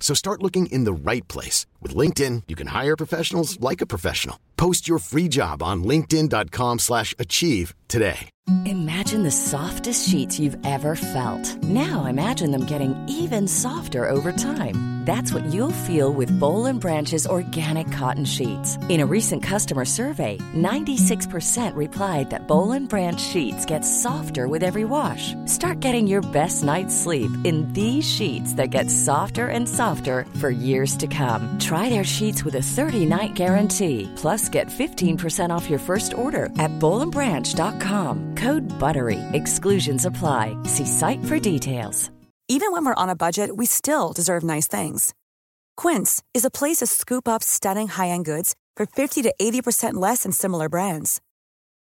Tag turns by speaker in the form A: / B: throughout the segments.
A: So start looking in the right place. With LinkedIn, you can hire professionals like a professional. Post your free job on linkedin.com slash achieve today.
B: Imagine the softest sheets you've ever felt. Now imagine them getting even softer over time. That's what you'll feel with Bowl and Branch's organic cotton sheets. In a recent customer survey, 96% replied that Bowl and Branch sheets get softer with every wash. Start getting your best night's sleep in these sheets that get softer and softer for years to come. Try their sheets with a 30-night guarantee. Plus, get 15% off your first order at bowlandbranch.com. Code BUTTERY. Exclusions apply. See site for details.
C: Even when we're on a budget, we still deserve nice things. Quince is a place to scoop up stunning high-end goods for 50 to 80% less than similar brands.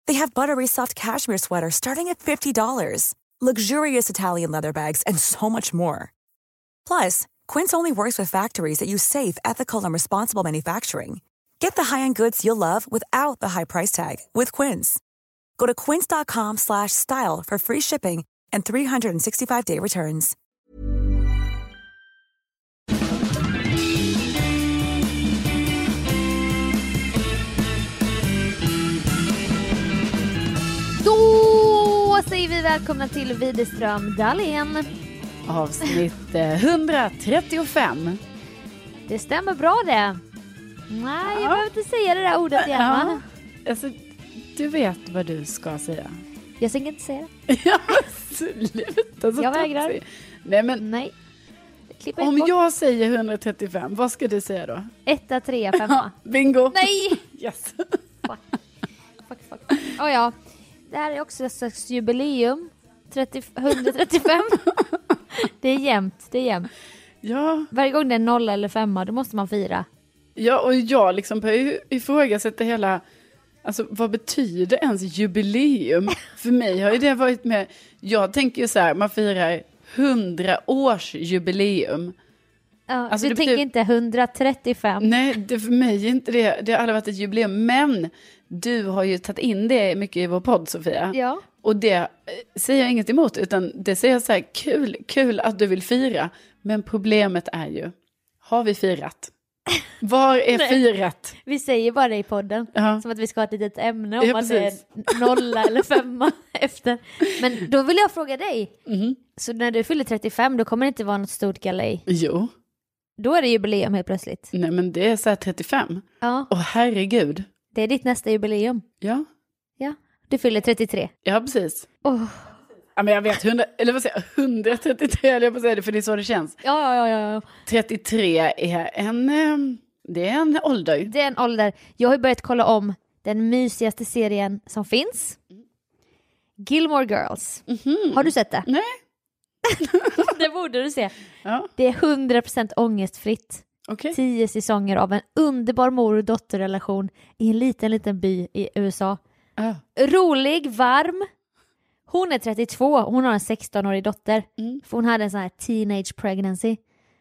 C: They have buttery soft cashmere sweaters starting at $50, luxurious Italian leather bags, and so much more. Plus, Quince only works with factories that use safe, ethical, and responsible manufacturing. Get the high-end goods you'll love without the high price tag with Quince. Go to quince.com slash style for free shipping and 365-day returns.
D: Då säger vi välkomna till Widerström Dahlén.
E: Avsnitt eh, 135.
D: Det stämmer bra det. Nej, jag behöver inte säga det där ordet igen va?
E: Alltså, du vet vad du ska säga.
D: Jag tänker inte säga det.
E: Ja, sluta så
D: Jag vägrar.
E: taskig. Nej, men
D: Nej. Klippa
E: om
D: bort.
E: jag säger 135, vad ska du säga då?
D: Etta, trea, femma.
E: Bingo!
D: Nej!
E: Yes.
D: Fuck, fuck. Oh, ja. Det här är också ett slags jubileum. 30, 135. Det är jämnt, det är jämnt.
E: Ja,
D: Varje gång det är nolla eller femma, då måste man fira.
E: ja, och jag liksom börjar ju ifrågasätta hela... Alltså, vad betyder ens jubileum? För mig har ju det varit med... Jag tänker ju så här, man firar 100 års jubileum.
D: Ja,
E: Alltså,
D: du
E: det
D: tänker
E: betyder-
D: inte 135.
E: Nej, det för mig är inte det. Det har aldrig varit ett jubileum. Men du har ju tagit in det mycket i vår podd, Sofia.
D: Ja.
E: Och det eh, säger jag inget emot, utan det säger jag så här, kul, kul att du vill fira. Men problemet är ju, har vi firat? Var är firat?
D: Vi säger bara det i podden,
E: Ja.
D: som att vi ska ha ett litet ämne om
E: Ja,
D: att det är
E: precis.
D: nolla eller femma efter. Men då vill jag fråga dig,
E: Mm-hmm.
D: så när du fyller 35 då kommer det inte vara något stort galej?
E: Jo,
D: Då är det jubileum helt plötsligt.
E: nej men det är så här 35.
D: Ja,
E: Åh herregud.
D: det är ditt nästa jubileum.
E: Ja,
D: Ja, du fyller 33.
E: ja precis.
D: Åh.
E: Ja, men jag vet, 100, eller vad säger jag, 133 eller jag på att säga det, för det är så det känns.
D: Ja, ja, ja, ja.
E: 33 är en, eh, det är en ålder.
D: Det är en ålder. Jag har ju börjat kolla om den mysigaste serien som finns. Gilmore Girls.
E: Mm-hmm.
D: Har du sett det?
E: Nej.
D: Det borde du se.
E: Ja,
D: Det är 100% ångestfritt.
E: okej.
D: tio säsonger av en underbar mor och dotterrelation i en liten, liten by i USA.
E: Ja.
D: Rolig, varm. Hon är 32 och hon har en 16-årig dotter.
E: Mm.
D: För hon hade en sån här teenage pregnancy.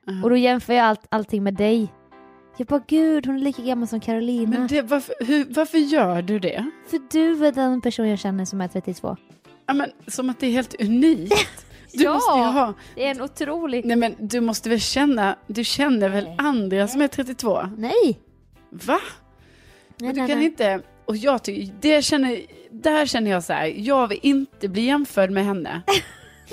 E: Ah.
D: Och då jämför jag allt, allting med dig. Jag bara gud, hon är lika gammal som Carolina.
E: Men det, varför, hur, varför gör du det?
D: För du är den person jag känner som är 32.
E: Ja, men, som att det är helt unikt. Du
D: Ja.
E: måste ju ha...
D: Det är en otrolig...
E: Nej men du måste väl känna, du känner väl andra som är 32?
D: Nej!
E: Va? Men du
D: nej,
E: kan
D: nej.
E: inte, och jag tycker, det känner, där känner jag så här, jag vill inte bli jämförd med henne.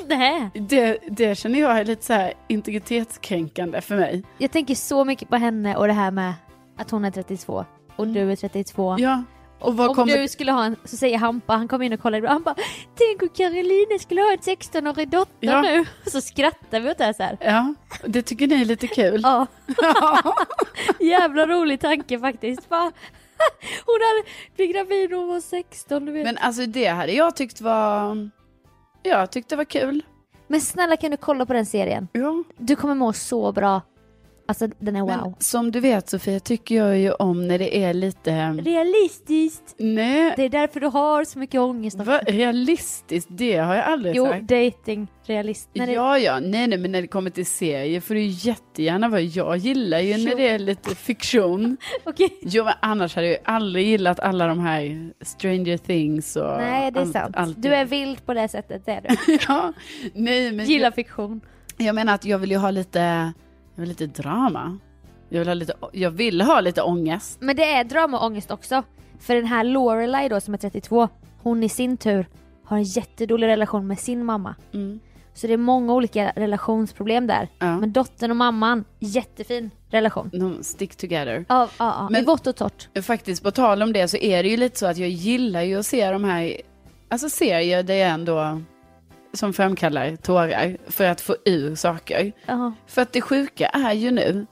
D: Nej.
E: Det, det känner jag är lite så här integritetskränkande för mig. Mm.
D: Jag tänker så mycket på henne och det här med att hon är 32 och du är 32.
E: Ja, Och vad
D: Om
E: kommer...
D: du skulle ha en, så säger Hampa, han kom in och kollade, han bara Tänk om Caroline skulle ha en 16-årig dotter
E: Ja.
D: nu. Och så skrattar vi åt det här så här.
E: Ja, det tycker ni är lite kul.
D: Ja. Jävla rolig tanke faktiskt. Fan. Hon hade blivit gravid när hon var 16, du vet. Men,
E: Men alltså det hade jag tyckt var... Jag tyckte det var kul.
D: snälla kan du kolla på den serien?
E: Ja.
D: Du kommer må så bra. Alltså den är wow.
E: Men som du vet Sofia tycker jag ju om när det är lite...
D: Realistiskt!
E: Nej,
D: Det är därför du har så mycket ångest. om-
E: vad realistiskt, det har jag aldrig
D: Jo,
E: sagt.
D: dating, realist. När det-
E: Ja, ja, nej, nej, men när det kommer till serier får det ju jättegärna vara, jag gillar ju när det är lite fiktion.
D: Okej.
E: Jo, men annars hade jag ju aldrig gillat alla de här Stranger Things och
D: Nej, det är
E: allt-
D: sant.
E: allt
D: Du
E: det.
D: är vild på det sättet, det är du.
E: ja, nej, men
D: Gillar fiktion.
E: jag, jag menar att jag vill ju ha lite, jag vill lite drama. Jag vill ha lite, jag vill ha lite ångest.
D: Men det är drama och ångest också. För den här Lorelai då som är 32, hon i sin tur har en jättedålig relation med sin mamma. Så det är många olika relationsproblem där.
E: Mm. Ja.
D: Men dottern och mamman, jättefin relation.
E: No, stick together.
D: Ja, ja, ja.
E: Men-
D: I vått och torrt.
E: Faktiskt, på tal om det så är det ju lite så att jag gillar ju att se de här, alltså serier där jag ändå, som framkallar tårar, för att få ur saker.
D: Ja.
E: För att det sjuka är ju nu,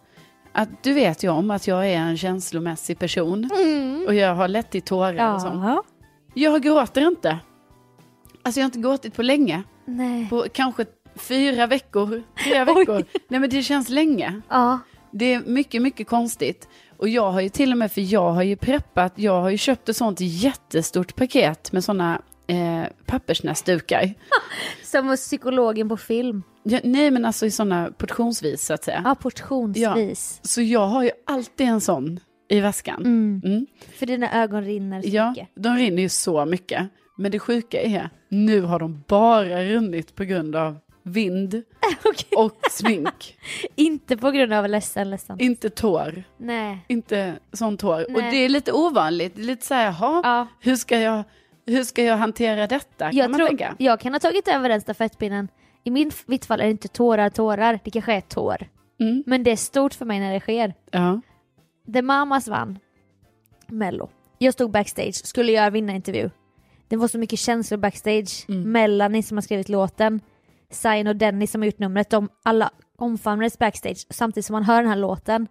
E: att du vet ju om att jag är en känslomässig person. Och jag har lätt i tårar och sånt.
D: Mm. Ja.
E: Jag gråter inte. Alltså jag har inte gråtit på länge.
D: Nej.
E: På kanske fyra veckor, tre
D: Oj.
E: veckor. Nej men det känns länge.
D: Ja.
E: Det är mycket, mycket konstigt. Och jag har ju till och med, för jag har ju preppat, jag har ju köpt ett sånt jättestort paket med såna eh, pappersnäsdukar.
D: Som psykologen på film.
E: Ja, nej men alltså i såna portionsvis så att säga.
D: Ja, portionsvis.
E: Så jag har ju alltid en sån i väskan. Mm.
D: För dina ögon rinner så
E: Ja,
D: mycket.
E: de rinner ju så mycket. Men det sjuka är, nu har de bara runnit på grund av vind
D: Okej.
E: och smink.
D: Inte på grund av ledsen, ledsen.
E: inte tår,
D: Nej.
E: inte sånt hår. Och
D: Nej.
E: det är lite ovanligt, Det är lite så här, jaha,
D: Ja.
E: hur, ska jag, hur ska jag hantera detta? Kan
D: Jag,
E: man
D: tror,
E: tänka.
D: jag kan ha tagit över den stafettpinnen. I min, mitt fall är det inte tårar, tårar. Det kanske är tår.
E: Mm.
D: Men det är stort för mig när det sker.
E: Ja.
D: The Mamas vann Mello. Jag stod backstage, skulle göra vinnarintervju. Det var så mycket känslor backstage.
E: Mm.
D: Melanie som har skrivit låten, Zayn och Dennis som har gjort numret, de alla omfamnades backstage samtidigt som man hör den här låten.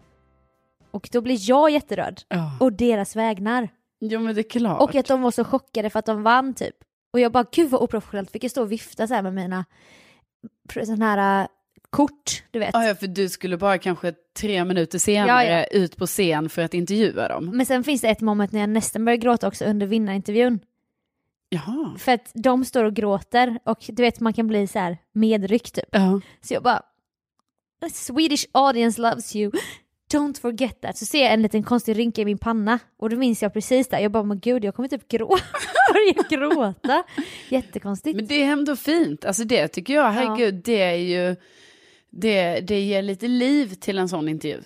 D: Och då blir jag jätterörd.
E: Ja.
D: Och deras vägnar.
E: Jo men det är klart.
D: Och att de var så chockade för att de vann typ. Och jag bara gud vad oprofessionellt, fick jag stå och vifta så här med mina pr- sån här äh, kort, du vet.
E: Ja, ja, för du skulle bara kanske tre minuter senare
D: Ja, Mm. ja.
E: ut på scen för att intervjua dem.
D: Men sen finns det ett moment när jag nästan börjar gråta också under vinnarintervjun.
E: Jaha.
D: För att de står och gråter och du vet man kan bli så här medryckt typ.
E: Ja.
D: Så jag bara "The Swedish audience loves you. Don't forget that. Så ser jag en liten konstig rynka i min panna och då minns jag precis det. Jag bara, men gud, jag kommer typ grå- börja gråta. Jättekonstigt.
E: Men det är ändå fint, alltså det tycker jag, herregud, det är ju, det, det ger lite liv till en sån intervju.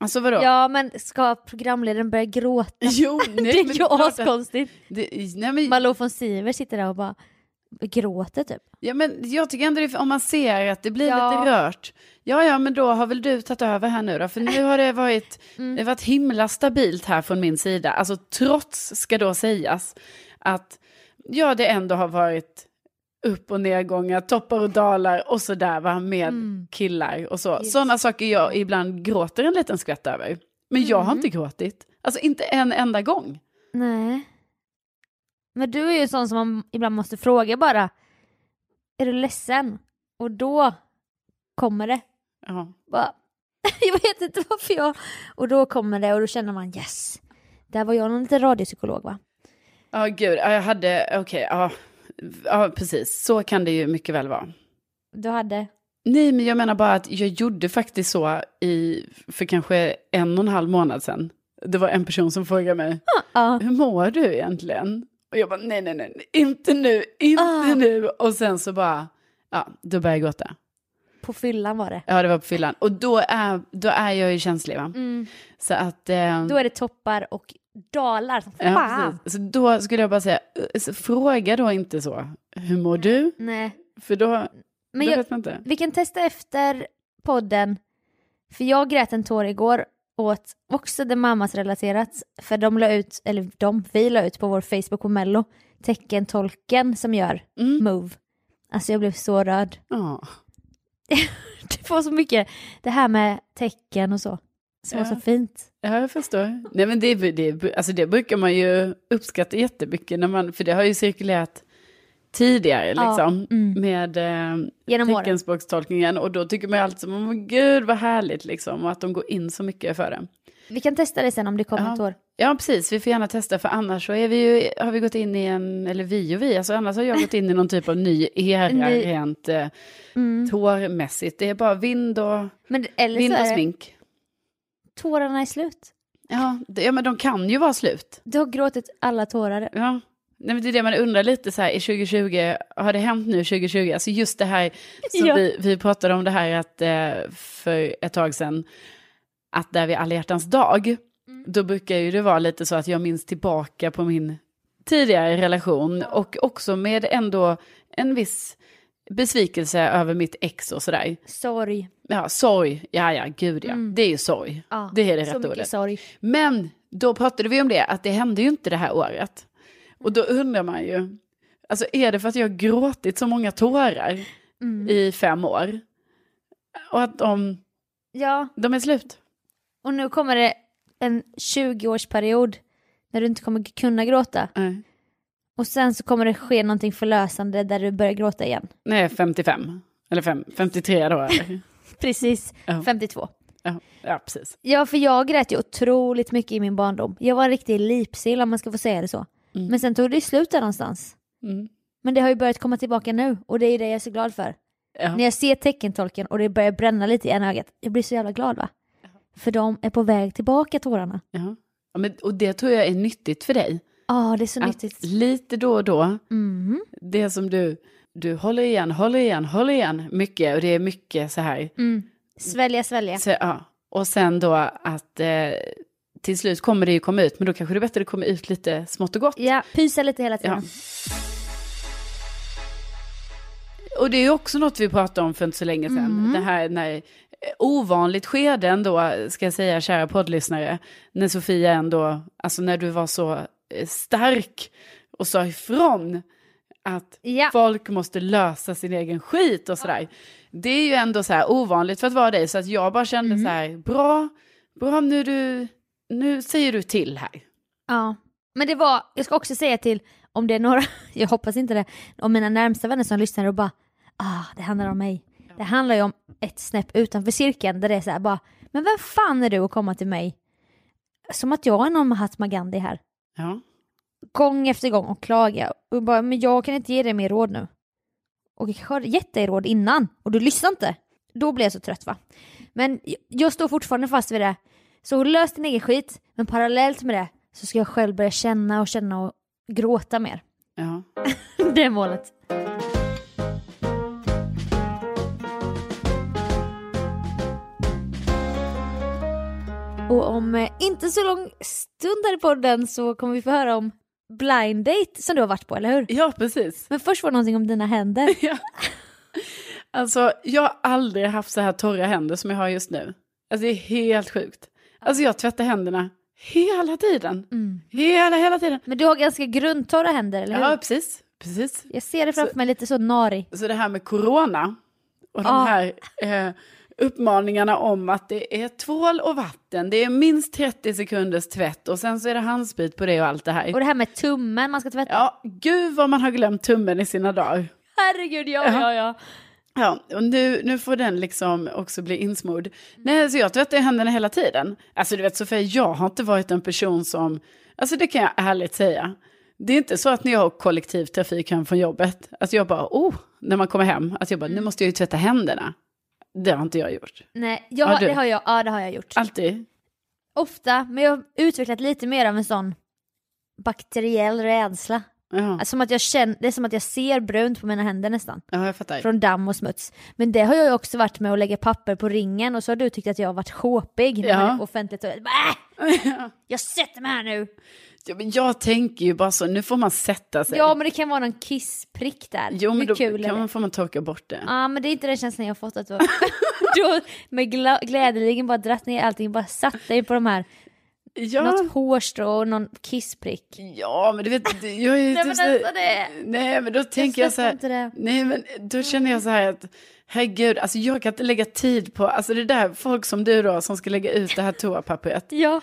E: Alltså vadå?
D: Ja men ska programledaren börja gråta?
E: Jo, nej,
D: det
E: men
D: är ju
E: klart att-
D: askonstigt.
E: Det, nej, men,
D: Malou von Sivers sitter där och bara gråter typ.
E: ja, men jag tycker ändå det, om man ser att det blir
D: Ja.
E: lite rört, ja ja men då har väl du tagit över här nu då, för nu har det varit, det har varit himla stabilt här från min sida, alltså trots ska då sägas att ja det ändå har varit upp och nedgångar, toppar och dalar och sådär va, med killar och så. Sådana saker jag ibland gråter en liten skvätt över. Men jag har inte gråtit, alltså inte en enda gång.
D: Nej. Men du är ju en sån som man ibland måste fråga bara. Är du ledsen? Och då kommer det.
E: Ja.
D: Bara, jag vet inte varför jag... Och då kommer det och då känner man yes. Där var jag någon liten radiopsykolog va?
E: Ja, gud. Ja, Jag hade, okej, ja. Ja, precis. Så kan det ju mycket väl vara.
D: Du hade...
E: Nej, men jag menar bara att jag gjorde faktiskt så i, för kanske en och en halv månad sedan. Det var en person som frågade mig,
D: Ja.
E: hur mår du egentligen? Och jag bara, nej, nej, nej, nej, inte nu, inte
D: Ah.
E: nu. Och sen så bara, ja, då började jag gråta.
D: På fyllan var det.
E: Ja, det var på fyllan. Och då är, då är jag ju känslig, va? Så att... Eh,
D: Mm. Då är det toppar och dalar som
E: ja,
D: fan.
E: precis. Så då skulle jag bara säga, eh, så fråga då inte så, hur mår du?
D: Nej.
E: För då,
D: Men
E: då
D: jag,
E: vet man inte.
D: Vi kan testa efter podden. För jag grät en tår igår åt också det mammasrelaterat. För de la ut, eller de, vi la ut på vår Facebook och Mello teckentolken som gör
E: Mm.
D: Move. Alltså jag blev så röd.
E: Ja.
D: Det var så mycket, det här med tecken och så, som var
E: Ja.
D: så fint.
E: Ja, jag förstår. Nej, men det, det, alltså det brukar man ju uppskatta jättemycket, när man, för det har ju cirkulerat tidigare
D: Ja,
E: liksom,
D: mm.
E: med eh,
D: Genom åren.
E: teckenspråkstolkningen. Och då tycker man ju alltid som, oh, gud vad härligt liksom, och att de går in så mycket för det.
D: Vi kan testa det sen om det kommer
E: Ja.
D: ett år.
E: Ja, precis, vi får gärna testa, för annars så är vi ju, har vi gått in i en, eller vi och vi, alltså annars har jag gått in i någon typ av ny era
D: Ny-
E: rent eh,
D: Mm.
E: tårmässigt. Det är bara vind och,
D: Men, eller
E: vind
D: så
E: och
D: är det,
E: smink.
D: tårarna är slut.
E: Ja, det, ja, men de kan ju vara slut.
D: Du har gråtit alla tårar.
E: Ja. Nej, men det är det man undrar lite så här, i 2020, har det hänt nu 2020? Alltså just det här som
D: Ja.
E: vi, vi pratade om det här att, eh, för ett tag sedan, att där vid alla hjärtans dag,
D: Mm.
E: då brukar ju det vara lite så att jag minns tillbaka på min tidigare relation och också med ändå en viss besvikelse över mitt ex och sådär.
D: Sorg.
E: Ja, sorg, ja ja, gud ja,
D: Mm.
E: det är ju sorg.
D: Ja,
E: Det är det
D: så
E: rätta
D: mycket
E: ordet.
D: sorg.
E: Men då pratade vi om det, att det hände ju inte det här året. Och då undrar man ju, alltså är det för att jag har gråtit så många tårar
D: Mm.
E: i fem år? Och att de,
D: Ja,
E: de är slut?
D: och nu kommer det en 20-årsperiod när du inte kommer kunna gråta.
E: Nej.
D: Och sen så kommer det ske någonting förlösande där du börjar gråta igen.
E: Nej, 55. Eller fem, 53 då. eller?
D: Precis,
E: Ja.
D: 52.
E: ja, ja, precis.
D: Ja, för jag grät ju otroligt mycket i min barndom. Jag var en riktig lipsill om man ska få säga det så.
E: Mm.
D: Men sen tog det ju slut där någonstans.
E: Mm.
D: Men det har ju börjat komma tillbaka nu och det är det jag är så glad för.
E: Ja.
D: När jag ser teckentolken och det börjar bränna lite i ena ögat, jag blir så jävla glad va? För de är på väg tillbaka tårarna.
E: Ja. Ja, men, och det tror jag är nyttigt för dig.
D: Ja, Ah, det är så
E: Att
D: nyttigt.
E: lite då och då,
D: Mm.
E: det som du, du håller igen, håller igen, håller igen mycket. Och det är mycket så här,
D: Mm. Svälja, svälja.
E: Så, ja. Och sen då att eh, till slut kommer det ju komma ut, men då kanske det är bättre att det kommer ut lite smått och gott.
D: Ja, pysa lite hela tiden.
E: Ja. Och det är ju också något vi pratade om för inte så länge sedan.
D: Mm.
E: Det här när, eh, ovanligt skede ändå, ska jag säga kära poddlyssnare, när Sofia ändå, alltså när du var så eh, stark och sa ifrån att
D: Ja.
E: folk måste lösa sin egen skit och sådär. Det är ju ändå så här ovanligt för att vara dig, så att jag bara kände
D: Mm.
E: så här, bra, bra nu, är du, nu säger du till här.
D: Ja. Men det var, jag ska också säga till, om det är några, jag hoppas inte det, om mina närmsta vänner som lyssnar och bara, ah, det handlar om mig. Det handlar ju om ett snäpp utanför cirkeln där det är så här bara, men vem fan är du att komma till mig? Som att jag är någon Mahatma Gandhi här.
E: Ja.
D: Gång efter gång och klaga och bara, men jag kan inte ge dig mer råd nu. Och jag kanske har gett dig råd innan och du lyssnar inte. Då blir jag så trött va. Men jag- jag står fortfarande fast vid det. Så lös din egen skit, men parallellt med det så ska jag själv börja känna och känna och gråta mer.
E: ja.
D: Det är målet. Och om eh, inte så lång stund här i podden så kommer vi få höra om blind date som du har varit på, eller hur?
E: Ja, precis.
D: Men först var det någonting om dina händer.
E: Ja. Alltså, jag har aldrig haft så här torra händer som jag har just nu. Alltså, det är helt sjukt. Alltså, jag tvättar händerna hela tiden.
D: Mm.
E: Hela, hela tiden.
D: Men du har ganska grundtorra händer, eller hur?
E: Ja, precis. Precis.
D: Jag ser det framför mig lite så narig.
E: Så det här med corona och de
D: Ja.
E: här eh, uppmaningarna om att det är tvål och vatten, det är minst 30 sekunders tvätt och sen så är det handsprit på det och allt det här.
D: Och det här med tummen man ska tvätta.
E: Ja, gud vad man har glömt tummen i sina dagar.
D: Herregud, ja, ja, ja.
E: Ja, och nu, nu får den liksom också bli insmord. Nej, så jag tvättar ju händerna hela tiden. Alltså du vet Sofia, jag har inte varit en person som, alltså det kan jag ärligt säga. Det är inte så att när jag har kollektivtrafik hem från jobbet, att jag bara, oh, när man kommer hem, att jag
D: Mm.
E: bara, nu måste jag ju tvätta händerna. Det har inte jag gjort.
D: Nej, jag,
E: Ja, du.
D: det har jag, ja, det har jag gjort.
E: Alltid.
D: Ofta, men jag har utvecklat lite mer av en sån bakteriell rädsla
E: Jaha.
D: Alltså, som att jag känner, det är som att jag ser brunt på mina händer nästan.
E: Ja, jag fattar.
D: Från damm och smuts. Men det har jag ju också varit med att lägga papper på ringen och så har du tyckt att jag har varit sjåpig när
E: Ja.
D: man är offentligt och bara, äh! Jag sätter mig här nu!
E: Ja, men jag tänker ju bara så, nu får man sätta sig.
D: Ja men det kan vara någon kissprick där.
E: jo, men
D: Hur
E: då
D: kul är
E: kan
D: det?
E: man, får man torka bort det.
D: Ja men det är inte den känslan jag har fått att du, du har med gla- glädjeligen bara dratt ner allting, bara satt dig på de här,
E: Ja,
D: något hårstrå och någon kissprick.
E: ja men du vet, det- jag är ju typ
D: Nej, men
E: så här-
D: alltså det-
E: Nej, men då tänker jag, så
D: släpper inte det.
E: här, nej men då känner jag så här att, herregud, alltså jag kan inte lägga tid på, alltså det där, folk som du då, som ska lägga ut det här toapappret,
D: Ja,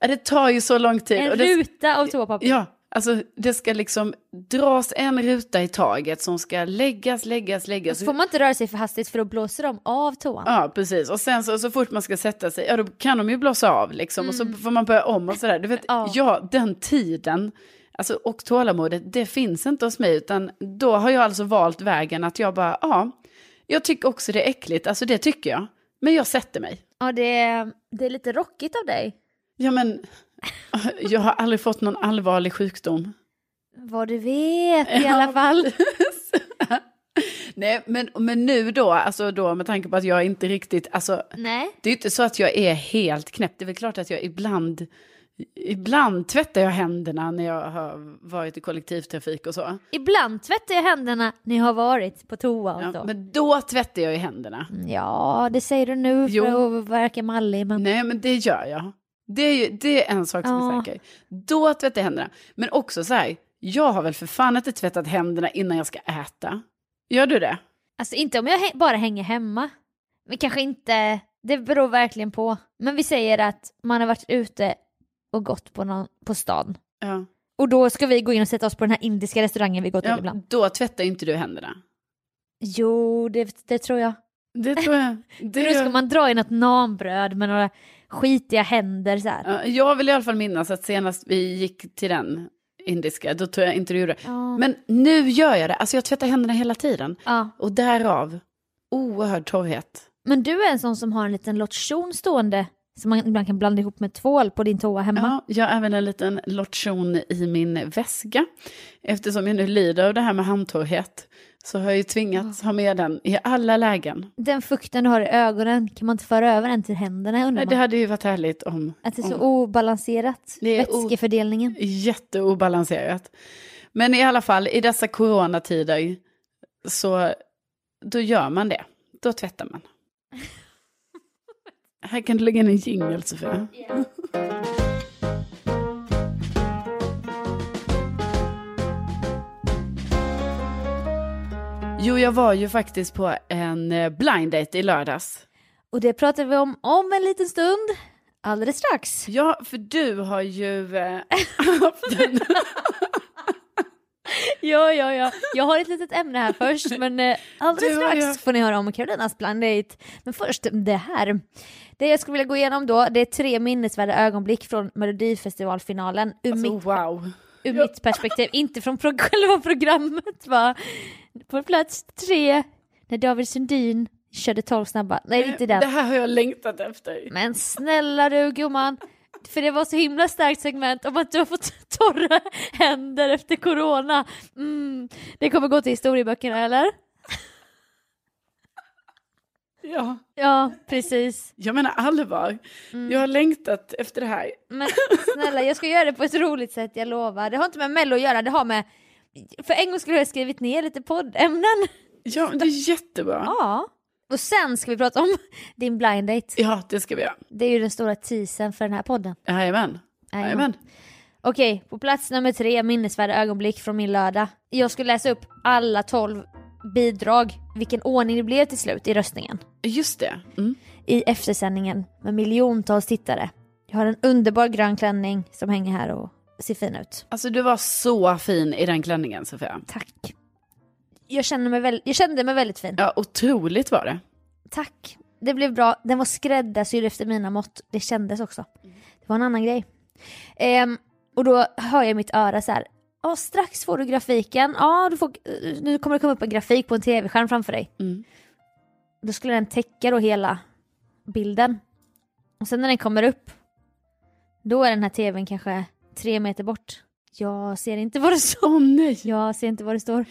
E: ja, det tar ju så lång tid.
D: en
E: typ. och det,
D: ruta av toapapper.
E: Ja, alltså det ska liksom dras en ruta i taget som ska läggas, läggas, läggas.
D: Så får man inte röra sig för hastigt för då blåser de av toan.
E: Ja, precis. Och sen så, så fort man ska sätta sig, ja då kan de ju blåsa av liksom. Och så får man börja om och sådär. Du vet,
D: Mm. Ja.
E: ja. den tiden, alltså och tålamodet, det finns inte hos mig. Utan då har jag alltså valt vägen att jag bara, ja, jag tycker också det är äckligt, alltså det tycker jag. Men jag sätter mig.
D: Ja, det, är- det är lite rockigt av dig.
E: Ja men, jag har aldrig fått någon allvarlig sjukdom.
D: Vad du vet i alla fall.
E: Nej, men, men nu då, alltså då med tanke på att jag inte riktigt, alltså
D: Nej.
E: det är ju inte så att jag är helt knäpp. Det är väl klart att jag ibland, ibland tvättar jag händerna när jag har varit i kollektivtrafik och så.
D: Ibland tvättar jag händerna när jag har varit på toa och så. Mm,
E: Ja, men då tvättar jag ju händerna.
D: Ja, det säger du nu för
E: Jo.
D: att verka mallig. Men...
E: Nej, men det gör jag. Det är, ju, det är en sak som
D: Mm. Ja.
E: är säker. Då tvättar jag händerna. Men också så här, jag har väl för fan inte tvättat händerna innan jag ska äta. Gör du det?
D: Alltså inte om jag hä- bara hänger hemma. Men kanske inte, det beror verkligen på. Men vi säger att man har varit ute och gått på, någon, på stan.
E: Ja.
D: Och då ska vi gå in och sätta oss på den här indiska restaurangen vi går till
E: ja
D: ibland.
E: då tvättar ju inte du händerna.
D: Jo, det, det tror jag.
E: Det tror jag. Det
D: För då ska
E: gör-
D: man dra i något namnbröd med några skitiga händer så här.
E: Ja, Jag vill i alla fall minnas att senast vi gick till den indiska, då tror jag inte du gjorde det.
D: Ja.
E: Men nu gör jag det, alltså jag tvättar händerna hela tiden.
D: Ja.
E: Och därav oerhörd torrhet.
D: Men du är en sån som har en liten lotion stående som man ibland kan blanda ihop med tvål på din toa hemma.
E: Ja, jag har även en liten lotion i min väska. Eftersom jag nu lider av det här med handtorrhet så har jag ju tvingats ha med den i alla lägen.
D: Den fukten du har i ögonen, kan man inte föra över den till händerna undrar
E: Nej, det
D: man?
E: hade ju varit härligt om...
D: Att det är så
E: om-
D: obalanserat,
E: Det är o-
D: vätskefördelningen.
E: Jätteobalanserat. Men i alla fall, i dessa coronatider så då gör man det. Då tvättar man. Här kan du lägga in en jingel, Sofia. Jo, jag var ju faktiskt på en eh, blind date i lördags.
D: Och det pratar vi om om en liten stund, alldeles strax.
E: Ja, för du har ju eh, haft en...
D: Ja, ja, ja. Jag har ett litet ämne här först, men eh, alldeles
E: Du har
D: strax
E: ju-
D: får ni höra om Karolinas blind date. Men först det här. Det jag skulle vilja gå igenom då, det är tre minnesvärda ögonblick från Melodifestivalfinalen ur
E: Alltså,
D: mitt
E: wow.
D: ur mitt perspektiv, inte från pro- själva programmet va. På plats tre, när David Sundin körde 12 snabba. Nej, inte
E: Eh, Det
D: den.
E: här har jag längtat efter.
D: Men snälla du gumman, för det var så himla starkt segment om att du har fått torra händer efter corona. Mm. Det kommer gå till historieböckerna eller?
E: Ja.
D: Ja, precis.
E: Jag menar allvar. Jag har längtat efter det här.
D: Men snälla, jag ska göra det på ett roligt sätt, jag lovar. Det har inte med Mello att göra, det har med... För en gång skulle jag ha skrivit ner lite poddämnen.
E: Ja, men det är jättebra. Ja,
D: Ja. Och sen ska vi prata om din blind date.
E: det ska vi göra.
D: Det är ju den stora teasern för den här podden.
E: Jajamän. Jajamän.
D: Okej, på plats nummer tre, minnesvärda ögonblick från min lördag. Jag skulle läsa upp alla tolv bidrag, vilken ordning det blev till slut i röstningen.
E: Just det. Mm.
D: I eftersändningen med miljontals tittare. Jag har en underbar grön klänning som hänger här och ser fin ut.
E: Alltså du var så fin i den klänningen Sofia.
D: Tack. Jag kände mig, väl, jag kände mig väldigt fin.
E: Ja, otroligt var det.
D: Tack. Det blev bra. Den var skräddarsydd efter mina mått. Det kändes också. Det var en annan grej. Ehm, och då hör jag i mitt öra så här. Ja, strax får du grafiken. Ja, du får, eh, nu kommer det komma upp en grafik på en tv-skärm framför dig.
E: Mm.
D: Då skulle den täcka då hela bilden. Och sen när den kommer upp, då är den här tvn kanske tre meter bort. Jag ser inte vad det står.
E: Åh nej!
D: Jag ser inte vad det står.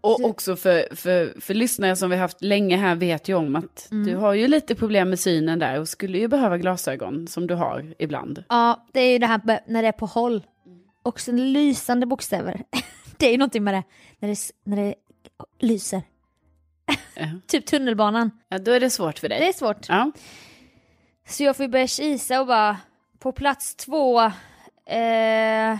E: Och också för, för, för lyssnare som vi haft länge här vet ju om att du har ju lite problem med synen där och skulle ju behöva glasögon som du har ibland.
D: Ja, det är ju det här med- när det är på håll. Och sen lysande bokstäver. det är ju någonting med det. När det, s- när det lyser.
E: Ja.
D: Typ tunnelbanan.
E: Ja, då är det svårt för dig.
D: Det är svårt.
E: Ja.
D: Så jag får ju börja kisa och bara, på plats två, eh,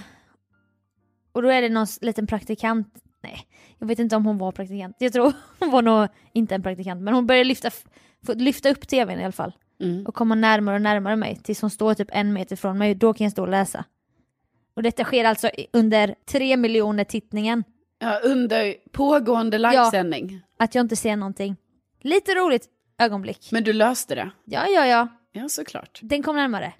D: och då är det någon s- liten praktikant, nej, jag vet inte om hon var praktikant, jag tror hon var nog inte en praktikant, men hon började lyfta, f- få- lyfta upp tvn i alla fall.
E: Mm.
D: Och komma närmare och närmare mig, tills hon står typ en meter från mig, då kan jag stå och läsa. Och detta sker alltså i- under tre miljoner tittningen,
E: Ja, under pågående livesändning.
D: att jag inte ser någonting. Lite roligt ögonblick.
E: Men du löste det?
D: Ja, ja, ja,
E: Ja, såklart.
D: den kom närmare.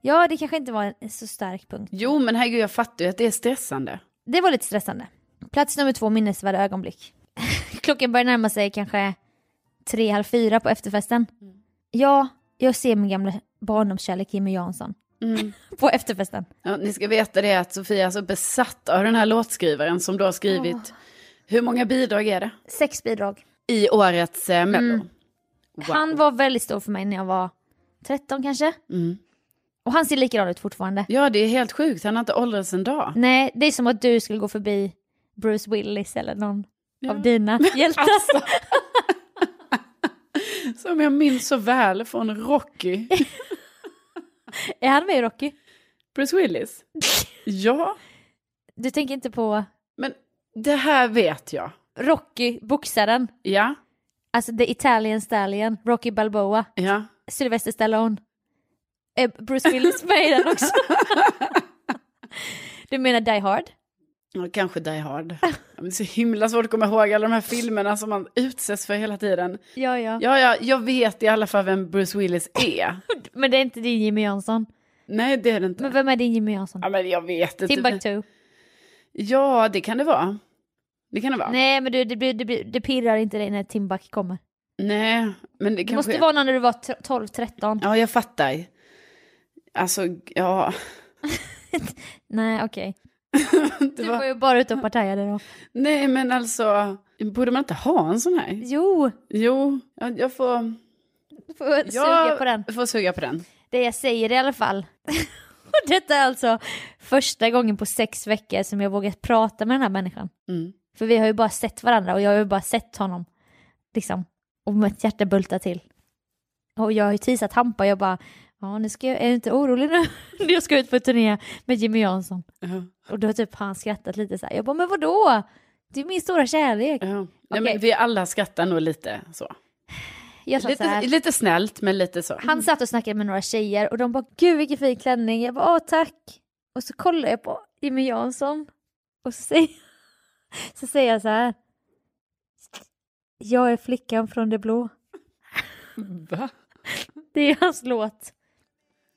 D: Ja, det kanske inte var en så stark punkt.
E: Jo, men herregud, jag fattar ju att det är stressande.
D: Det var lite stressande. Plats nummer två, minnesvärda ögonblick. Klockan börjar närma sig kanske tre, halv fyra på efterfesten.
E: Mm.
D: Ja, jag ser min gamla barndomskärlek Jimmy Jansson
E: Mm.
D: på efterfesten.
E: Ja, ni ska veta det att Sofia är så besatt av den här låtskrivaren som då har skrivit, hur många bidrag är det?
D: Sex bidrag.
E: I årets eh, Mello. Wow.
D: Han var väldigt stor för mig när jag var 13 kanske.
E: Mm.
D: Och han ser likadan ut fortfarande.
E: Ja, det är helt sjukt, han har inte åldrats en dag.
D: Nej, det är som att du skulle gå förbi Bruce Willis eller någon
E: Ja.
D: av dina hjältar.
E: Alltså. Som jag minns så väl från Rocky.
D: Är han med i Rocky?
E: Bruce Willis. Ja,
D: Du tänker inte på
E: men det här vet jag.
D: Rocky, boxaren?
E: Ja,
D: Alltså The Italian Stallion, Rocky Balboa.
E: ja.
D: Sylvester Stallone. Eh, Bruce Willis med i den också. du menar Die Hard?
E: Ja, kanske Die Hard. Ja, men Det är så himla svårt att komma ihåg alla de här filmerna som man utsätts för hela tiden.
D: Ja, ja.
E: Ja, ja, jag vet i alla fall vem Bruce Willis är.
D: Men det är inte din Jimmy Jansson.
E: Nej, det är det inte.
D: Men vem är din Jimmy Jansson?
E: Ja, men typ- jag vet inte.
D: Timbuktu?
E: Ja, det kan det vara. Det kan det vara.
D: Nej, men du, det, blir, det, blir, det pirrar inte dig när Timbuk kommer.
E: Nej, men
D: Det
E: det kanske...
D: måste vara någon när du var 12-13.
E: Ja, jag fattar. Alltså, ja.
D: Nej, okej.
E: Det
D: Du
E: var...
D: var ju bara ute och partajade då.
E: Nej, men alltså. Borde man inte ha en sån här?
D: Jo,
E: Jo, jag, jag får...
D: du får suga
E: jag
D: på den.
E: får suga på den.
D: Det jag säger i alla fall. Och Detta är alltså första gången på sex veckor som jag vågat prata med den här människan.
E: Mm.
D: För vi har ju bara sett varandra och jag har ju bara sett honom. Liksom. Och mitt hjärta bultar till. Och jag har ju teasat Hampa jag bara, ja nu ska jag, är du inte orolig nu? När jag ska ut på turné med Jimmy Jansson.
E: Ja,
D: Och då har typ han skrattat lite så här. Jag bara, men vadå? Det är min stora kärlek.
E: ja. Nej,
D: Okej.
E: men vi alla skrattar nog lite så.
D: Jag sa så
E: Lite,
D: här.
E: lite snällt, men lite så.
D: Han satt och snackade med några tjejer och de bara gud vilken fin klänning, jag bara åh tack. Och så kollar jag på Jimmy Jansson och så säger, så säger jag så här. Jag är flickan från det blå.
E: Va?
D: Det är hans låt.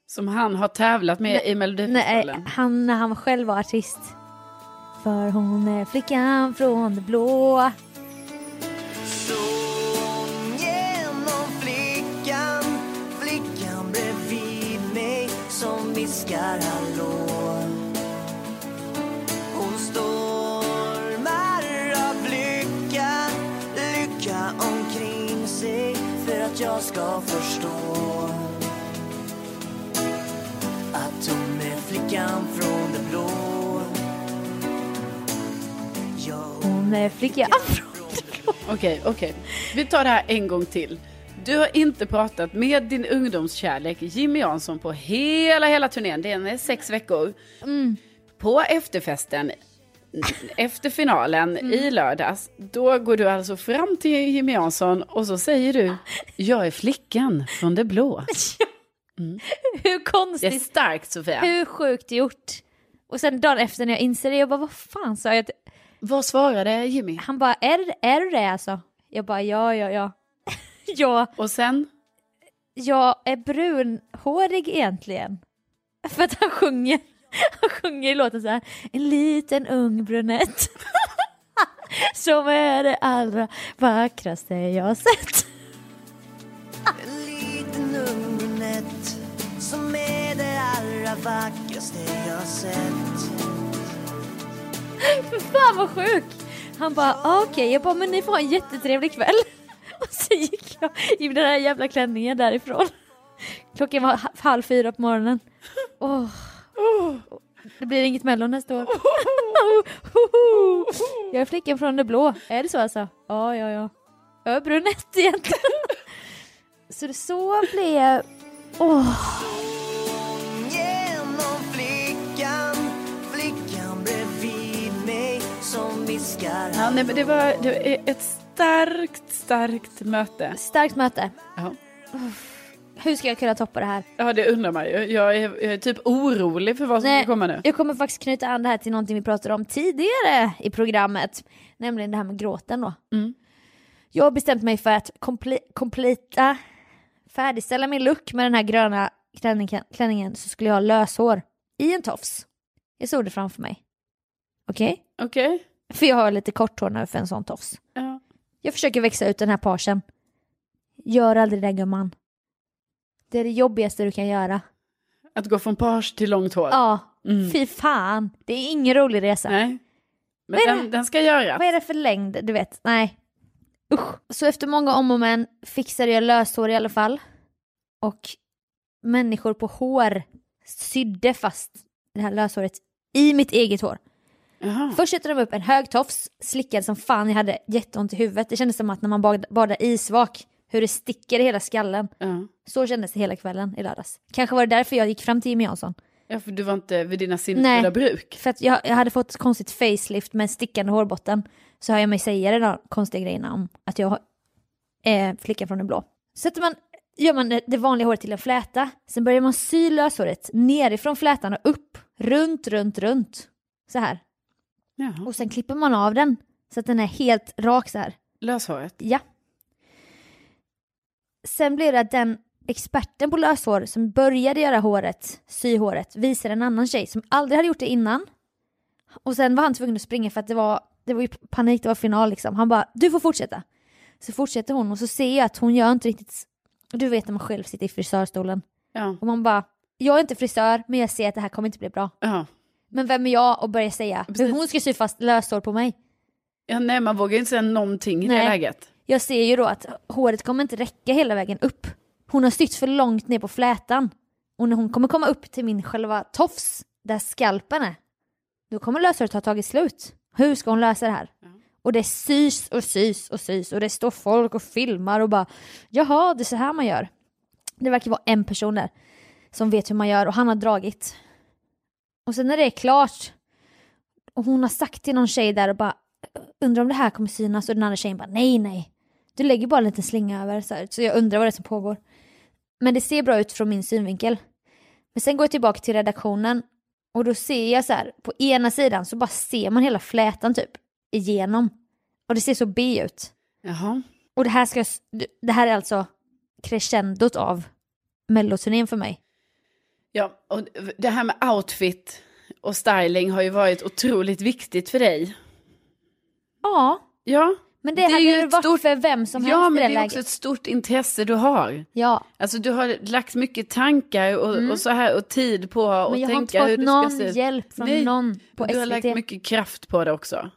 E: Som han har tävlat med i
D: Nej,
E: Melodifestivalen.
D: han när han själv var artist. För hon är flickan från det blå.
F: Så hon genom flickan, flickan bredvid mig som viskar hallå. Hon stormar av lycka, lycka omkring sig för att jag ska förstå. Att hon är flickan från det blå. Jag
D: Hon är flickan från
E: Okej, okej. Vi tar det här en gång till. Du har inte pratat med din ungdomskärlek Jimmy Jansson på hela, hela turnén. Den är sex veckor.
D: Mm.
E: På efterfesten, efter finalen
D: Mm.
E: i lördags, då går du alltså fram till Jimmy Jansson och så säger du Jag är flickan från det blå.
D: Hur
E: Det är
D: konstigt,
E: starkt Sofia.
D: hur sjukt gjort. Och sen dagen efter när jag inser det, jag bara vad fan sa jag? till-
E: Vad svarade Jimmy?
D: Han bara, är, det- är du det alltså? Jag bara, ja, ja, ja. jag,
E: Och sen?
D: jag är brunhårig egentligen. För att han sjunger, han sjunger i låten så här, en liten ung brunett. Som är det allra vackraste jag sett.
F: En liten ung brunett som är det allra vackraste jag sett
D: För fan vad sjuk! Han bara ah, okej, jag bara men ni får ha en jättetrevlig kväll. Och så gick jag i den här jävla klänningen därifrån. Klockan var ha- halv fyra på morgonen. Åh, Det blir inget mellon nästa år. Hoho. jag är flickan från det blå. Är det så alltså? Ja, ja, ja. Jag är brunett egentligen. så det så blev... Åh,
F: Genom flickan, flickan bredvid mig som viskar
E: Ja, nej, men det var, det var ett starkt, starkt möte.
D: starkt möte.
E: Ja.
D: Hur ska jag kunna toppa det här?
E: Ja, det undrar man ju. Jag är, jag är typ orolig för vad som ska komma nu.
D: Jag kommer faktiskt knyta an det här till någonting vi pratade om tidigare i programmet. Nämligen det här med gråten då. Jag har bestämt mig för att komple- kompleta, färdigställa min look med den här gröna klänningen, klänningen så skulle jag ha löshår i en tofs. Jag såg det framför mig. Okej?
E: Okej?
D: För jag har lite kort hår nu för en sån tofs.
E: Ja.
D: Jag försöker växa ut den här parsen. Gör aldrig det gumman. Det är det jobbigaste du kan göra.
E: Att gå från page till långt hår.
D: Ja, fy fan. Det är ingen rolig resa.
E: Nej. Men
D: Vad är
E: den,
D: det?
E: den ska göras.
D: Vad är det för längd? Du vet, nej. Usch. Så efter många om och men fixade jag löshår i alla fall. Och människor på hår sydde fast det här löshåret i mitt eget hår.
E: Jaha.
D: Först sätter de upp en hög tofs, slickad som fan, jag hade jätteont i huvudet. Det kändes som att när man bad- badar isvak, hur det sticker i hela skallen.
E: Ja.
D: Så kändes det hela kvällen i lördags. Kanske var det därför jag gick fram till Jimmy Jansson.
E: ja, för du var inte vid dina
D: Nej.
E: sinnesfulla bruk.
D: För att jag, jag hade fått ett konstigt facelift med en stickande hårbotten. Så hör jag mig säga de där konstiga grejerna om att jag är flickan från den blå. Sätter man, gör man det- det vanliga håret till en fläta, sen börjar man sy löshåret nerifrån flätan och upp, runt, runt, runt. Så här.
E: Jaha.
D: Och sen klipper man av den så att den är helt rak så här.
E: Löshåret.
D: Ja. Sen blev det att den experten på löshår som började göra håret, sy håret, visade en annan tjej som aldrig hade gjort det innan. Och sen var han tvungen att springa för att det var, det var ju panik, det var final liksom. Han bara, du får fortsätta. Så fortsätter hon och så ser jag att hon gör inte riktigt, du vet när man själv sitter i frisörstolen.
E: Ja.
D: Och man bara, jag är inte frisör men jag ser att det här kommer inte bli bra.
E: Ja.
D: Men vem är jag att börja säga hur
E: Precis.
D: hon ska sy fast löshår på mig?
E: ja. Nej, man vågar ju inte säga någonting i det
D: Nej.
E: läget.
D: Jag ser ju då att håret kommer inte räcka hela vägen upp. Hon har sytt för långt ner på flätan. Och när hon kommer komma upp till min själva tofs, där skalpen är, då kommer löshåret ha tagit slut. Hur ska hon lösa det här? Och det sys och sys och sys och det står folk och filmar och bara jaha, det är så här man gör. Det verkar vara en person där som vet hur man gör och han har dragit. Och sen när det är klart och hon har sagt till någon tjej där och bara undrar om det här kommer synas och den andra tjejen bara nej nej. Du lägger bara en liten slinga över så, här. så jag undrar vad det är som pågår. Men det ser bra ut från min synvinkel. Men sen går jag tillbaka till redaktionen och då ser jag så här på ena sidan så bara ser man hela flätan typ igenom. Och det ser så B ut.
E: Jaha.
D: Och det här, ska, jag s- det här är alltså crescendot av melloturnén för mig.
E: Ja, och det här med outfit och styling har ju varit otroligt viktigt för dig.
D: Ja,
E: Ja,
D: men det,
E: Det är
D: hade
E: ju
D: ju
E: ett
D: varit
E: stort-
D: för vem som
E: ja
D: helst i
E: men
D: det
E: det är också
D: läget.
E: ett stort intresse du har.
D: Ja,
E: Alltså du har lagt mycket tankar och, och så här och tid på att
D: Mm. men jag har inte
E: tänka hur
D: fått
E: du ska
D: någon
E: se ut.
D: hjälp från
E: Nej,
D: någon på
E: Du har
D: SVT.
E: lagt mycket kraft på det också.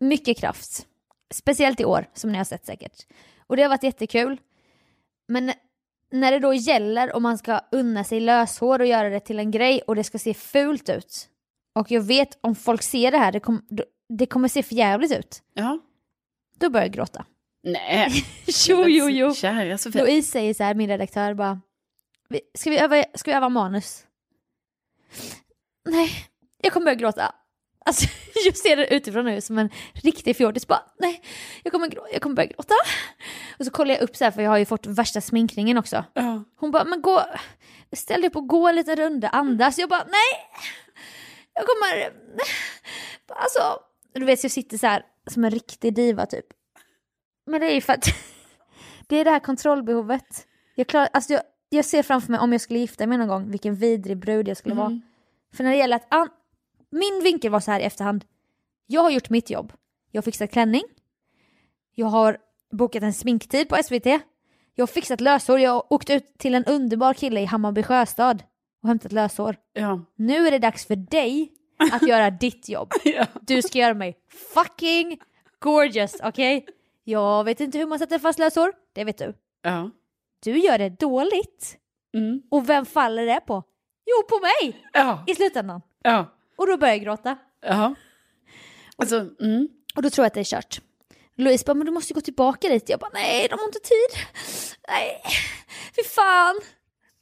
D: mycket kraft. Speciellt i år, som ni har sett säkert. Och det har varit jättekul. Men när det då gäller om man ska unna sig löshår och göra det till en grej och det ska se fult ut. Och jag vet om folk ser det här, det, kom, det kommer se för jävligt ut.
E: Ja.
D: Då börjar jag gråta.
E: Nej.
D: Jo, jo, jo.
E: Kära Sofia.
D: Louise säger så här, min redaktör bara, "Vi- ska vi öva, ska vi öva manus? Nej, jag kommer börja gråta. Alltså, jag ser det utifrån nu som en riktig fjortis bara, nej, jag kommer, grå- jag kommer börja gråta. Och så kollar jag upp så här, för jag har ju fått värsta sminkningen också.
E: Ja.
D: Hon bara, men gå, ställ dig upp och gå en liten runda, andas. Jag bara, nej! Jag kommer, alltså, du vet jag sitter så här som en riktig diva typ. Men det är ju för att, det är det här kontrollbehovet. Jag, klarar, alltså jag, jag ser framför mig om jag skulle gifta mig någon gång, vilken vidrig brud jag skulle vara. För när det gäller att, an, min vinkel var så här i efterhand, jag har gjort mitt jobb. Jag har fixat klänning, jag har bokat en sminktid på SVT, jag har fixat löshår, jag har åkt ut till en underbar kille i Hammarby sjöstad och hämtat löshår.
E: ja.
D: Nu är det dags för dig att göra ditt jobb.
E: Ja.
D: Du ska göra mig fucking gorgeous, okej? Jag vet inte hur man sätter fast lösor, det vet du.
E: Ja.
D: Du gör det dåligt.
E: Mm.
D: Och vem faller det på? Jo, på mig!
E: Ja.
D: I slutändan.
E: Ja.
D: Och då börjar jag gråta.
E: Ja. Alltså, mm.
D: Och då tror jag att det är kört. Louise bara, men du måste gå tillbaka dit. Jag bara, nej de har inte tid. Nej, fy fan.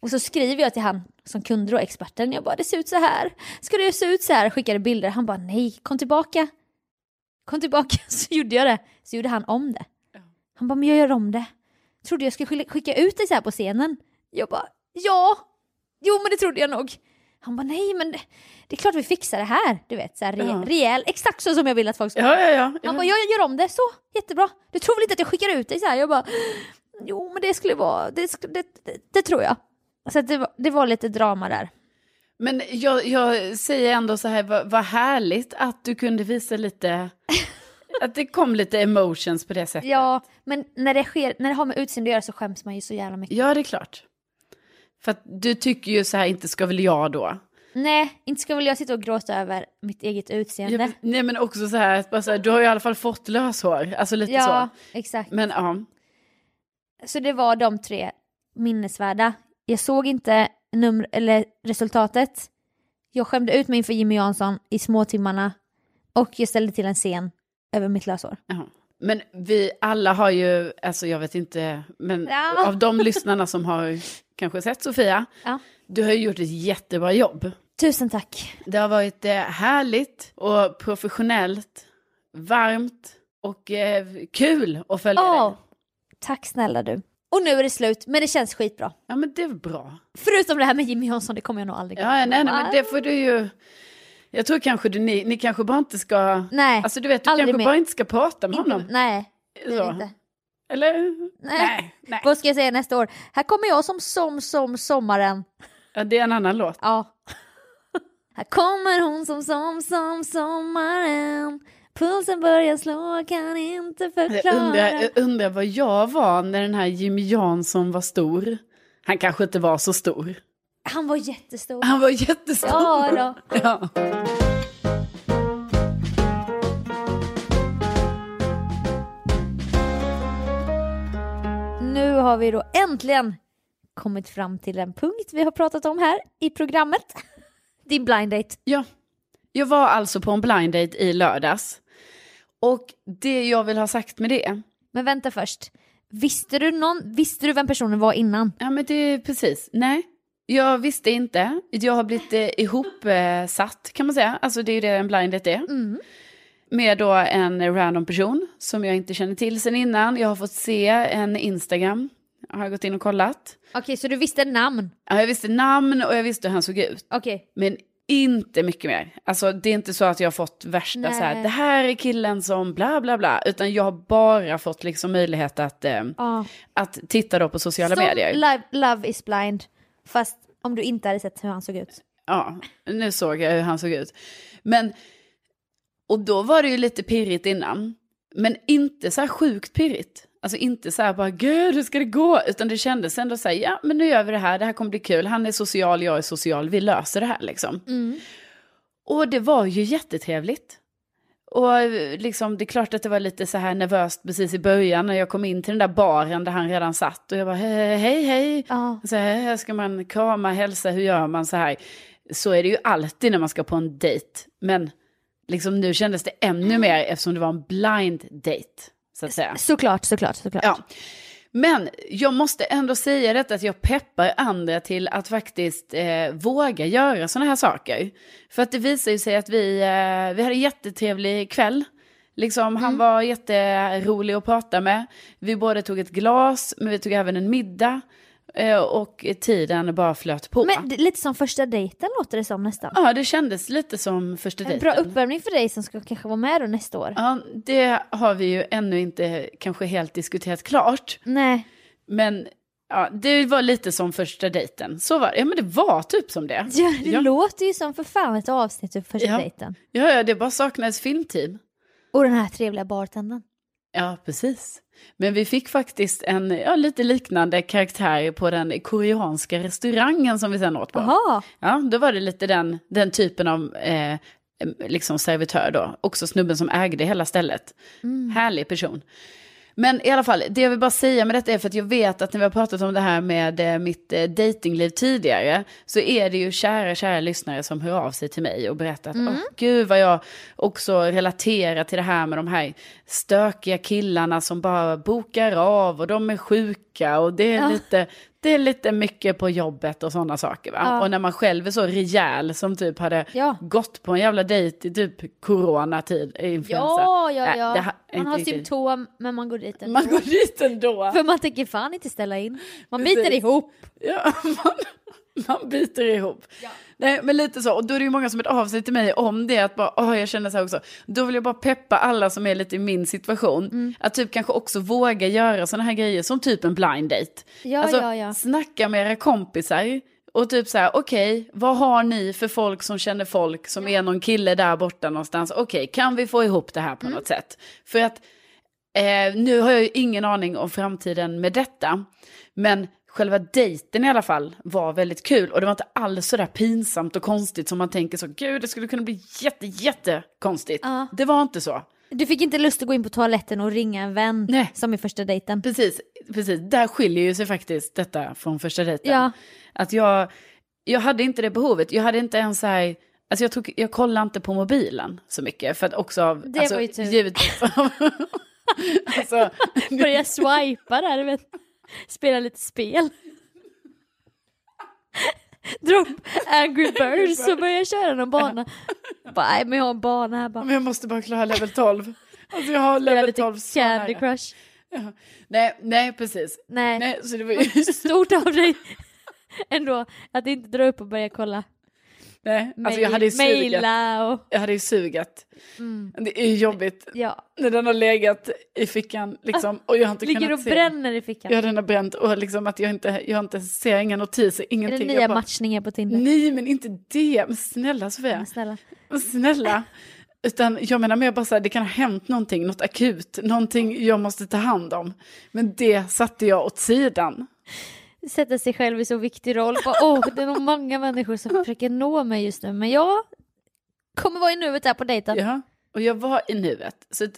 D: Och så skriver jag till han som kunde då, experten. Jag bara, det ser ut så här. Ska det se ut så här? Skickade bilder. Han bara, nej, kom tillbaka. Kom tillbaka. Så gjorde jag det. Så gjorde han om det. Han bara, men jag gör om det. Trodde jag skulle skil- skicka ut dig så här på scenen? Jag bara, ja. Jo, men det trodde jag nog. Han bara, nej, men det, det är klart vi fixar det här. Du vet, så här re-
E: Ja.
D: rejäl. Exakt så som jag vill att folk ska
E: ja, ja, ja. ja.
D: han bara, jag gör om det, så, jättebra. Du tror väl inte att jag skickar ut dig så här? Jag bara, jo men det skulle vara, det, sk- det, det, det tror jag. Så att det, var- det var lite drama där.
E: Men jag, jag säger ändå så här, vad, vad härligt att du kunde visa lite, att det kom lite emotions på det sättet.
D: Ja, men när det, sker, när det har med utseende att göra så skäms man ju så jävla mycket.
E: Ja, det är klart. För att du tycker ju så här, inte ska väl jag då?
D: Nej, inte ska väl jag sitta och gråta över mitt eget utseende.
E: Jag, nej, men också så här, att bara så här, du har ju i alla fall fått löshår, alltså lite
D: ja,
E: så.
D: exakt.
E: Men ja,
D: Så det var de tre minnesvärda. Jag såg inte nummer, eller resultatet. Jag skämde ut mig inför Jimmy Jansson i småtimmarna. Och jag ställde till en scen över mitt lösår.
E: ja. Men vi alla har ju, alltså jag vet inte, men
D: Ja.
E: av de lyssnarna som har kanske sett Sofia,
D: Ja.
E: du har ju gjort ett jättebra jobb.
D: Tusen tack.
E: Det har varit eh, härligt och professionellt, varmt och eh, kul att följa
D: Ja.
E: dig.
D: Tack snälla du. Och nu är det slut, men det känns skitbra.
E: Ja, men det är bra.
D: Förutom det här med Jimmy Jansson, det kommer jag nog aldrig
E: Ja, ja, nej, nej, men det får du ju... Jag tror kanske du, ni, ni kanske bara inte ska...
D: Nej,
E: Alltså du vet, du
D: aldrig
E: kanske
D: mer.
E: bara inte ska prata med
D: inte,
E: honom.
D: nej, det är
E: Så.
D: det inte.
E: Eller?
D: Nej.
E: Nej. nej.
D: Vad ska jag säga nästa år? Här kommer jag som som som sommaren.
E: Ja, det är en annan låt.
D: Ja. Här kommer hon som som som sommaren. Pulsen börjar slå, kan inte
E: Jag
D: förklara.
E: undrar, jag undrar vad jag var när den här Jimmy Jansson var stor. Han kanske inte var så stor.
D: Han var jättestor.
E: Han var jättestor.
D: Ja då.
E: Ja.
D: Nu har vi då äntligen kommit fram till den punkt vi har pratat om här i programmet. Din blind date.
E: Ja. Jag var alltså på en blind date i lördags. Och det jag vill ha sagt med det,
D: Men vänta först. Visste du, någon, visste du vem personen var innan?
E: ja men det är precis, nej. Jag visste inte, jag har blivit eh, ihopsatt kan man säga, alltså det är ju det en blind date är.
D: Mm.
E: Med då en random person som jag inte känner till sen innan, jag har fått se en Instagram, har jag gått in och kollat.
D: Okej, så du visste namn?
E: Ja, jag visste namn och jag visste hur han såg ut.
D: Okej.
E: Men inte mycket mer. Alltså det är inte så att jag har fått värsta
D: Nej.
E: så här, det här är killen som bla bla bla. Utan jag har bara fått liksom möjlighet att, eh,
D: Ja.
E: att titta då på sociala
D: Som
E: medier.
D: Live, love is blind. Fast om du inte hade sett hur han såg ut.
E: ja, nu såg jag hur han såg ut. Men, och då var det ju lite pirrigt innan. Men inte så här sjukt pirrigt. Alltså inte så här bara gud hur ska det gå? Utan det kändes ändå så här, ja men nu gör vi det här, det här kommer bli kul. Han är social, jag är social, vi löser det här liksom. Och det var ju jättetrevligt. Och eh, liksom, det är klart att det var lite så här nervöst precis i början när jag kom in till den där baren där han redan satt. Och jag bara hej, hej, hej.
D: Ja.
E: Så här, här ska man krama, hälsa, hur gör man så här? Så är det ju alltid när man ska på en dejt. Men liksom nu kändes det ännu mer eftersom det var en blind date. Så att säga.
D: Såklart, såklart, såklart.
E: Ja. Men jag måste ändå säga detta att jag peppar andra till att faktiskt eh, våga göra sådana här saker. För att det visar ju sig att vi, eh, vi hade en jättetrevlig kväll. Liksom, han
D: Mm.
E: var jätterolig att prata med. Vi både tog ett glas, men vi tog även en middag. Eh, och tiden bara flöt på.
D: Men det, är lite som första dejten låter det som nästan.
E: Ja, det kändes lite som första
D: en
E: dejten.
D: bra uppvärmning för dig som ska kanske vara med då nästa år.
E: Ja, det har vi ju ännu inte kanske helt diskuterat klart.
D: Nej.
E: Men ja, det var lite som första dejten. Så var det. Ja, men det var typ som det.
D: Ja, det
E: ja.
D: låter ju som för fan ett avsnitt ur första
E: Ja.
D: dejten.
E: Ja, ja, det bara saknades filmteam.
D: Och den här trevliga bartendern.
E: Ja, precis. Men vi fick faktiskt en ja, lite liknande karaktär på den koreanska restaurangen som vi sen åt på.
D: Jaha.
E: Ja, då var det lite den, den typen av eh, eh, liksom servitör då, också snubben som ägde hela stället.
D: Mm.
E: Härlig person. Men i alla fall, det jag vill bara säga med detta är för att jag vet att när vi har pratat om det här med eh, mitt eh, datingliv tidigare så är det ju kära, kära lyssnare som hör av sig till mig och berättar att
D: Mm.
E: åh gud vad jag också relaterar till det här med de här stökiga killarna som bara bokar av och de är sjuka och det är, lite, det är lite mycket på jobbet och sådana saker. Va? Och när man själv är så rejäl som typ hade
D: Ja.
E: gått på en jävla dejt i typ coronatid, eh, influensa.
D: Ja, ja,
E: Nej, det
D: ja.
E: har-
D: man
E: inte
D: har
E: riktigt.
D: symptom men man går dit ändå.
E: Man går dit ändå.
D: För man tänker fan inte ställa in. Man
E: Precis.
D: biter ihop.
E: Ja, man, man biter ihop. Nej, men lite så. Och då är det ju många som hört av sig till mig om det. Att bara, åh, jag känner så här också. Då vill jag bara peppa alla som är lite i min situation.
D: Mm.
E: Att typ kanske också våga göra sådana här grejer som typ en blind date.
D: Ja,
E: alltså,
D: ja, ja.
E: snacka med era kompisar. Och typ så här, okej, vad har ni för folk som känner folk som är någon kille där borta någonstans? Okej, kan vi få ihop det här
D: Mm.
E: på något sätt? För att Eh, nu har jag ju ingen aning om framtiden med detta. Men själva dejten i alla fall var väldigt kul. Och det var inte alls sådär pinsamt och konstigt som man tänker så. Gud, det skulle kunna bli jätte, jätte konstigt.
D: Ja.
E: Det var inte så.
D: Du fick inte lust att gå in på toaletten och ringa en vän
E: Nej.
D: som i första dejten.
E: Precis, precis. Där skiljer ju sig faktiskt detta från första dejten.
D: Ja.
E: Att jag, jag hade inte det behovet. Jag hade inte ens så här... Alltså jag, tog, jag kollade inte på mobilen så mycket. För att också av...
D: Det
E: alltså,
D: var ju tur.
E: Givetvis. alltså,
D: Börja swipa där, du vet. Spela lite spel. Drop Angry Birds och börja köra någon bana. Bara, nej men jag har en bana här bara.
E: Men jag måste bara klara level 12. Alltså jag har
D: Spela
E: level 12
D: lite
E: så
D: Candy
E: nära.
D: Crush.
E: Nej, nej precis.
D: Nej.
E: Nej, så det var ju...
D: Stort av dig ändå att inte dra upp och börja kolla.
E: Nej, alltså jag hade ju sugat.
D: Maila och
E: Jag hade ju sugat.
D: Mm.
E: Det är ju jobbigt
D: ja.
E: när den har legat i fickan liksom och jag har inte
D: Ligger
E: kunnat
D: och
E: se.
D: bränner i fickan.
E: Jag har den har bränt och liksom att jag inte, jag har inte ser inga notiser,
D: Är det
E: ingenting.
D: nya
E: Jag Mm. bara,
D: matchningar på Tinder?
E: Nej, men inte det. Men snälla Sofia.
D: Men snälla.
E: Men Snälla. Utan jag menar mer bara så här, det kan ha hänt någonting, något akut, någonting jag måste ta hand om. Men det satte jag åt sidan.
D: Sätta sig själv i så viktig roll. Bara, Åh, det är nog många människor som försöker nå mig just nu men jag kommer vara i nuet här på dejten.
E: Ja, och jag var i nuet. Så att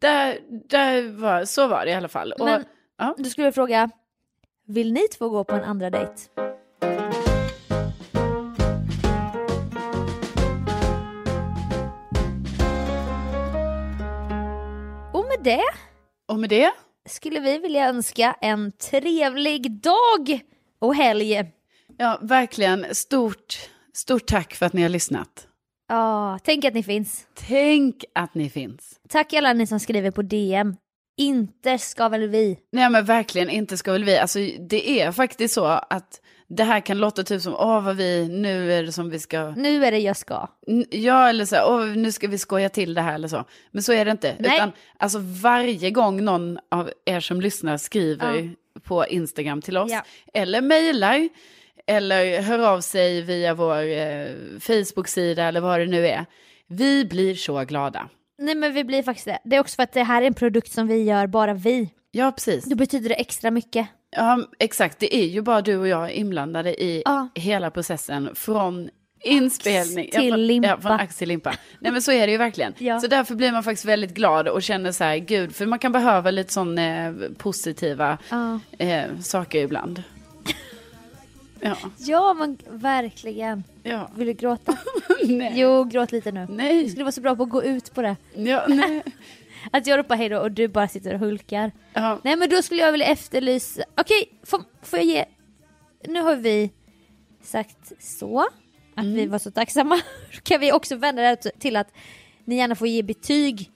E: där, där var, så var det i alla fall. Och,
D: Men-
E: ja.
D: Då skulle jag fråga, vill ni två gå på en andra dejt? Och med det
E: och med det,
D: skulle vi vilja önska en trevlig dag och helg.
E: ja verkligen stort, stort tack för att ni har lyssnat.
D: Ja, tänk att ni finns.
E: Tänk att ni finns.
D: Tack alla ni som skriver på DM. Inte ska väl vi?
E: Nej men verkligen, inte ska väl vi. Alltså det är faktiskt så att det här kan låta typ som, åh vad vi, nu är det som vi ska,
D: Nu är det jag ska.
E: N- ja eller så, här, åh nu ska vi skoja till det här eller så. Men så är det inte.
D: Nej.
E: Utan alltså varje gång någon av er som lyssnar skriver på Instagram till oss,
D: Ja.
E: eller mejlar, eller hör av sig via vår eh, Facebook-sida eller vad det nu är. Vi blir så glada.
D: Nej men vi blir faktiskt det. Det är också för att det här är en produkt som vi gör, bara vi.
E: Ja, precis.
D: Då betyder det extra mycket.
E: Ja, exakt. Det är ju bara du och jag inblandade i
D: Ja.
E: hela processen från inspelning
D: till
E: ja, från, Ja,
D: limpa.
E: från ax till limpa. Nej men så är det ju verkligen.
D: Ja.
E: Så därför blir man faktiskt väldigt glad och känner så här, gud, för man kan behöva lite sån eh, positiva
D: Ja.
E: eh, saker ibland. Ja,
D: Ja men verkligen.
E: ja.
D: Vill du gråta?
E: Nej.
D: Jo, gråt lite nu. Du
E: Nej.
D: skulle vara så bra på att gå ut på det.
E: Ja, nej.
D: Att jag ropar hejdå och du bara sitter och hulkar.
E: Ja.
D: Nej men då skulle jag vilja efterlysa, okej får, får jag ge, nu har vi sagt så, att
E: Mm.
D: vi var så tacksamma. Då kan vi också vända det här till att ni gärna får ge betyg.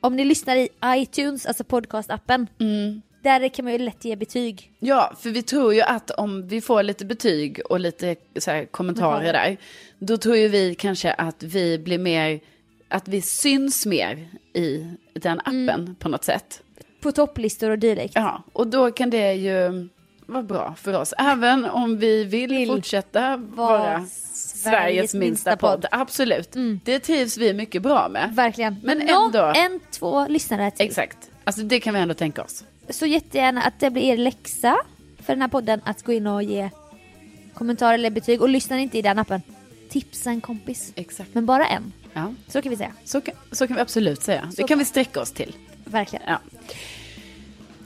D: Om ni lyssnar i iTunes, alltså podcastappen,
E: Mm.
D: där kan man ju lätt ge betyg.
E: Ja, för vi tror ju att om vi får lite betyg och lite så här, kommentarer där, då tror ju vi kanske att vi blir mer, att vi syns mer i den appen på något sätt.
D: På topplistor och dylikt.
E: Ja, och då kan det ju vara bra för oss, även om vi vill,
D: Vill
E: fortsätta vara Sveriges minsta podd. Mm. Absolut, det trivs vi mycket bra med.
D: Verkligen.
E: Men
D: Någon,
E: ändå.
D: en, två lyssnare till.
E: Exakt, alltså det kan vi ändå tänka oss.
D: Så jättegärna att det blir er läxa för den här podden att gå in och ge kommentarer eller betyg. Och lyssnar ni inte i den appen, tipsa en kompis.
E: Exakt.
D: Men bara en.
E: Ja.
D: Så kan vi säga.
E: Så, kan- så kan vi absolut säga. Det kan vi sträcka oss till.
D: Verkligen.
E: Ja.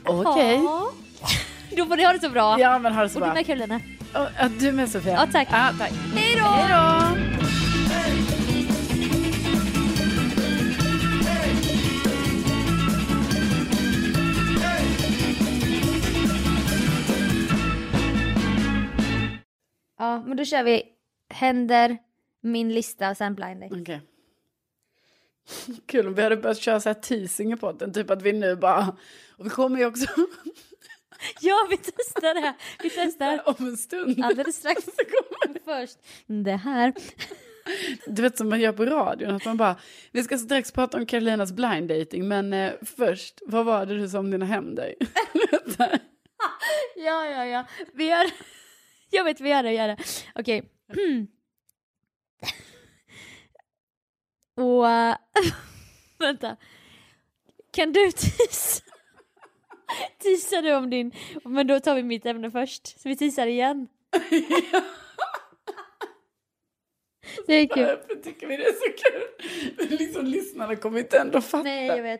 E: Okej.
D: Ja. Då får ni ha det så bra.
E: Ja, men ha det så
D: Och du
E: bra.
D: med Karolina.
E: Och, ja, du med Sofia.
D: Ja, tack.
E: Ja, tack.
D: Hej då!
E: Hej då!
D: Ja, men då kör vi händer, min lista och sen blind date.
E: Okej. Kul om vi hade börjat köra så här teasing i podden. Typ att vi nu bara... Och vi kommer ju också
D: Ja, vi testar det här. Vi testar
E: om en stund.
D: alldeles strax. Men Först det här.
E: Du vet som man gör på radion. Att man bara... Vi ska strax prata om Carolinas blind dating. Men eh, först, vad var det du sa om dina händer?
D: Ja, ja, ja. Vi gör... Jag vet, vi gör det, vi gör det. Okej. Och... äh, vänta. Kan du tisa? Tisa du om din... Men då tar vi mitt ämne först. Så vi tisar igen. Det är kul.
E: Varför tycker vi det är så kul? Men liksom lyssnarna kommer inte ändå fatta.
D: Nej, jag vet.